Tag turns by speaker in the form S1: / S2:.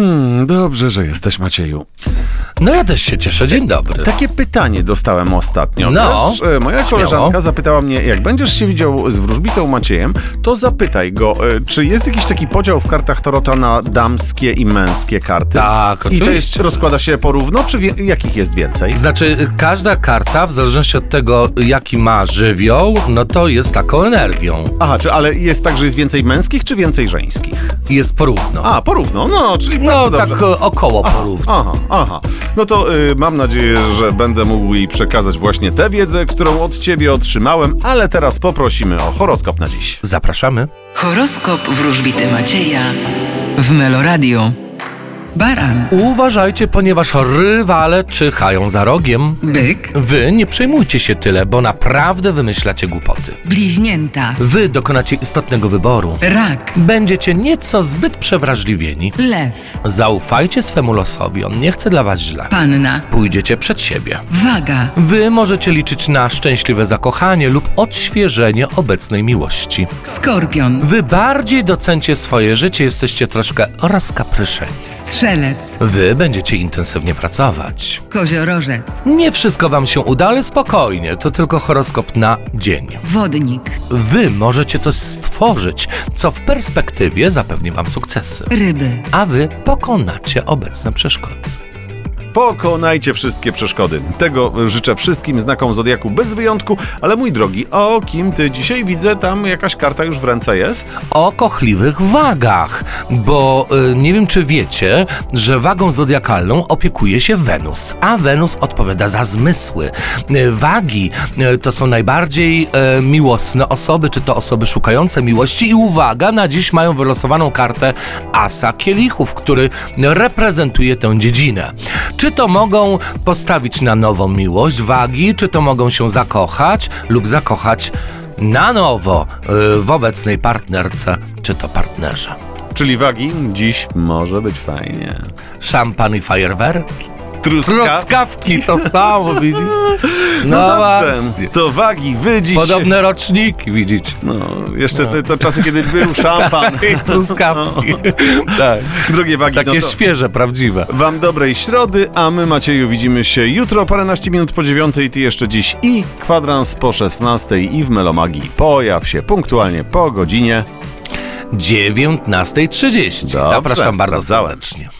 S1: Hmm, dobrze, że jesteś, Macieju.
S2: No ja też się cieszę. Dzień dobry.
S1: Takie pytanie dostałem ostatnio.
S2: No.
S1: Wiesz, e, moja koleżanka
S2: Śmiało.
S1: zapytała mnie, jak będziesz się widział z wróżbitą Maciejem, to zapytaj go, e, czy jest jakiś taki podział w kartach Tarota na damskie i męskie karty?
S2: Tak,
S1: I to
S2: oczywiście.
S1: jest, rozkłada się porówno, czy wie, jakich jest więcej?
S2: Znaczy, y, każda karta, w zależności od tego, jaki ma żywioł, no to jest taką energią.
S1: Aha, czy, ale jest tak, że jest więcej męskich, czy więcej żeńskich?
S2: I Jest porówno.
S1: A, porówno, no, czyli
S2: no
S1: bardzo dobrze.
S2: tak o- około porówno.
S1: Aha, aha. No to y, mam nadzieję, że będę mógł jej przekazać właśnie tę wiedzę, którą od ciebie otrzymałem, ale teraz poprosimy o horoskop na dziś.
S2: Zapraszamy.
S3: Horoskop wróżbity Macieja w Meloradio. Baran,
S2: Uważajcie, ponieważ rywale czyhają za rogiem.
S3: byk,
S2: Wy nie przejmujcie się tyle, bo naprawdę wymyślacie głupoty.
S3: bliźnięta,
S2: Wy dokonacie istotnego wyboru.
S3: rak,
S2: Będziecie nieco zbyt przewrażliwieni.
S3: lew,
S2: Zaufajcie swemu losowi, on nie chce dla was źle.
S3: panna,
S2: Pójdziecie przed siebie.
S3: waga,
S2: Wy możecie liczyć na szczęśliwe zakochanie lub odświeżenie obecnej miłości.
S3: skorpion,
S2: Wy bardziej docencie swoje życie, jesteście troszkę rozkapryszeni.
S3: strzelec,
S2: Wy będziecie intensywnie pracować.
S3: koziorożec,
S2: Nie wszystko wam się uda, ale spokojnie, to tylko horoskop na dzień.
S3: wodnik,
S2: Wy możecie coś stworzyć, co w perspektywie zapewni wam sukcesy.
S3: ryby.
S2: A wy pokonacie obecne przeszkody.
S1: Pokonajcie wszystkie przeszkody. Tego y, życzę wszystkim znakom Zodiaku bez wyjątku, ale mój drogi, o kim ty dzisiaj widzę, tam jakaś karta już w ręce jest?
S2: o kochliwych wagach, bo y, nie wiem czy wiecie, że wagą zodiakalną opiekuje się Wenus, a Wenus odpowiada za zmysły. Y, wagi y, to są najbardziej y, miłosne osoby, czy to osoby szukające miłości i uwaga, na dziś mają wylosowaną kartę Asa Kielichów, który reprezentuje tę dziedzinę. Czy to mogą postawić na nową miłość wagi, czy to mogą się zakochać lub zakochać na nowo y, w obecnej partnerce czy to partnerze.
S1: Czyli wagi, dziś może być fajnie.
S2: Szampan i fajerwerki.
S1: Truska?
S2: Truskawki to samo, widzisz?
S1: No, dobrze,
S2: właśnie.
S1: to wagi, wy dziś...
S2: Podobne roczniki, widzicie?
S1: No, jeszcze te, to czasy, kiedy był szampan.
S2: Truskawki. tak.
S1: Drogie wagi,
S2: Takie
S1: no to...
S2: świeże, prawdziwe.
S1: Wam dobrej środy, a my Macieju widzimy się jutro paręnaście minut po dziewiątej, ty jeszcze dziś i kwadrans po szesnastej i w Melomagii. Pojaw się punktualnie po godzinie.
S2: 19.30.
S1: Dobrze,
S2: Zapraszam bardzo
S1: sprawdzałem.
S2: serdecznie.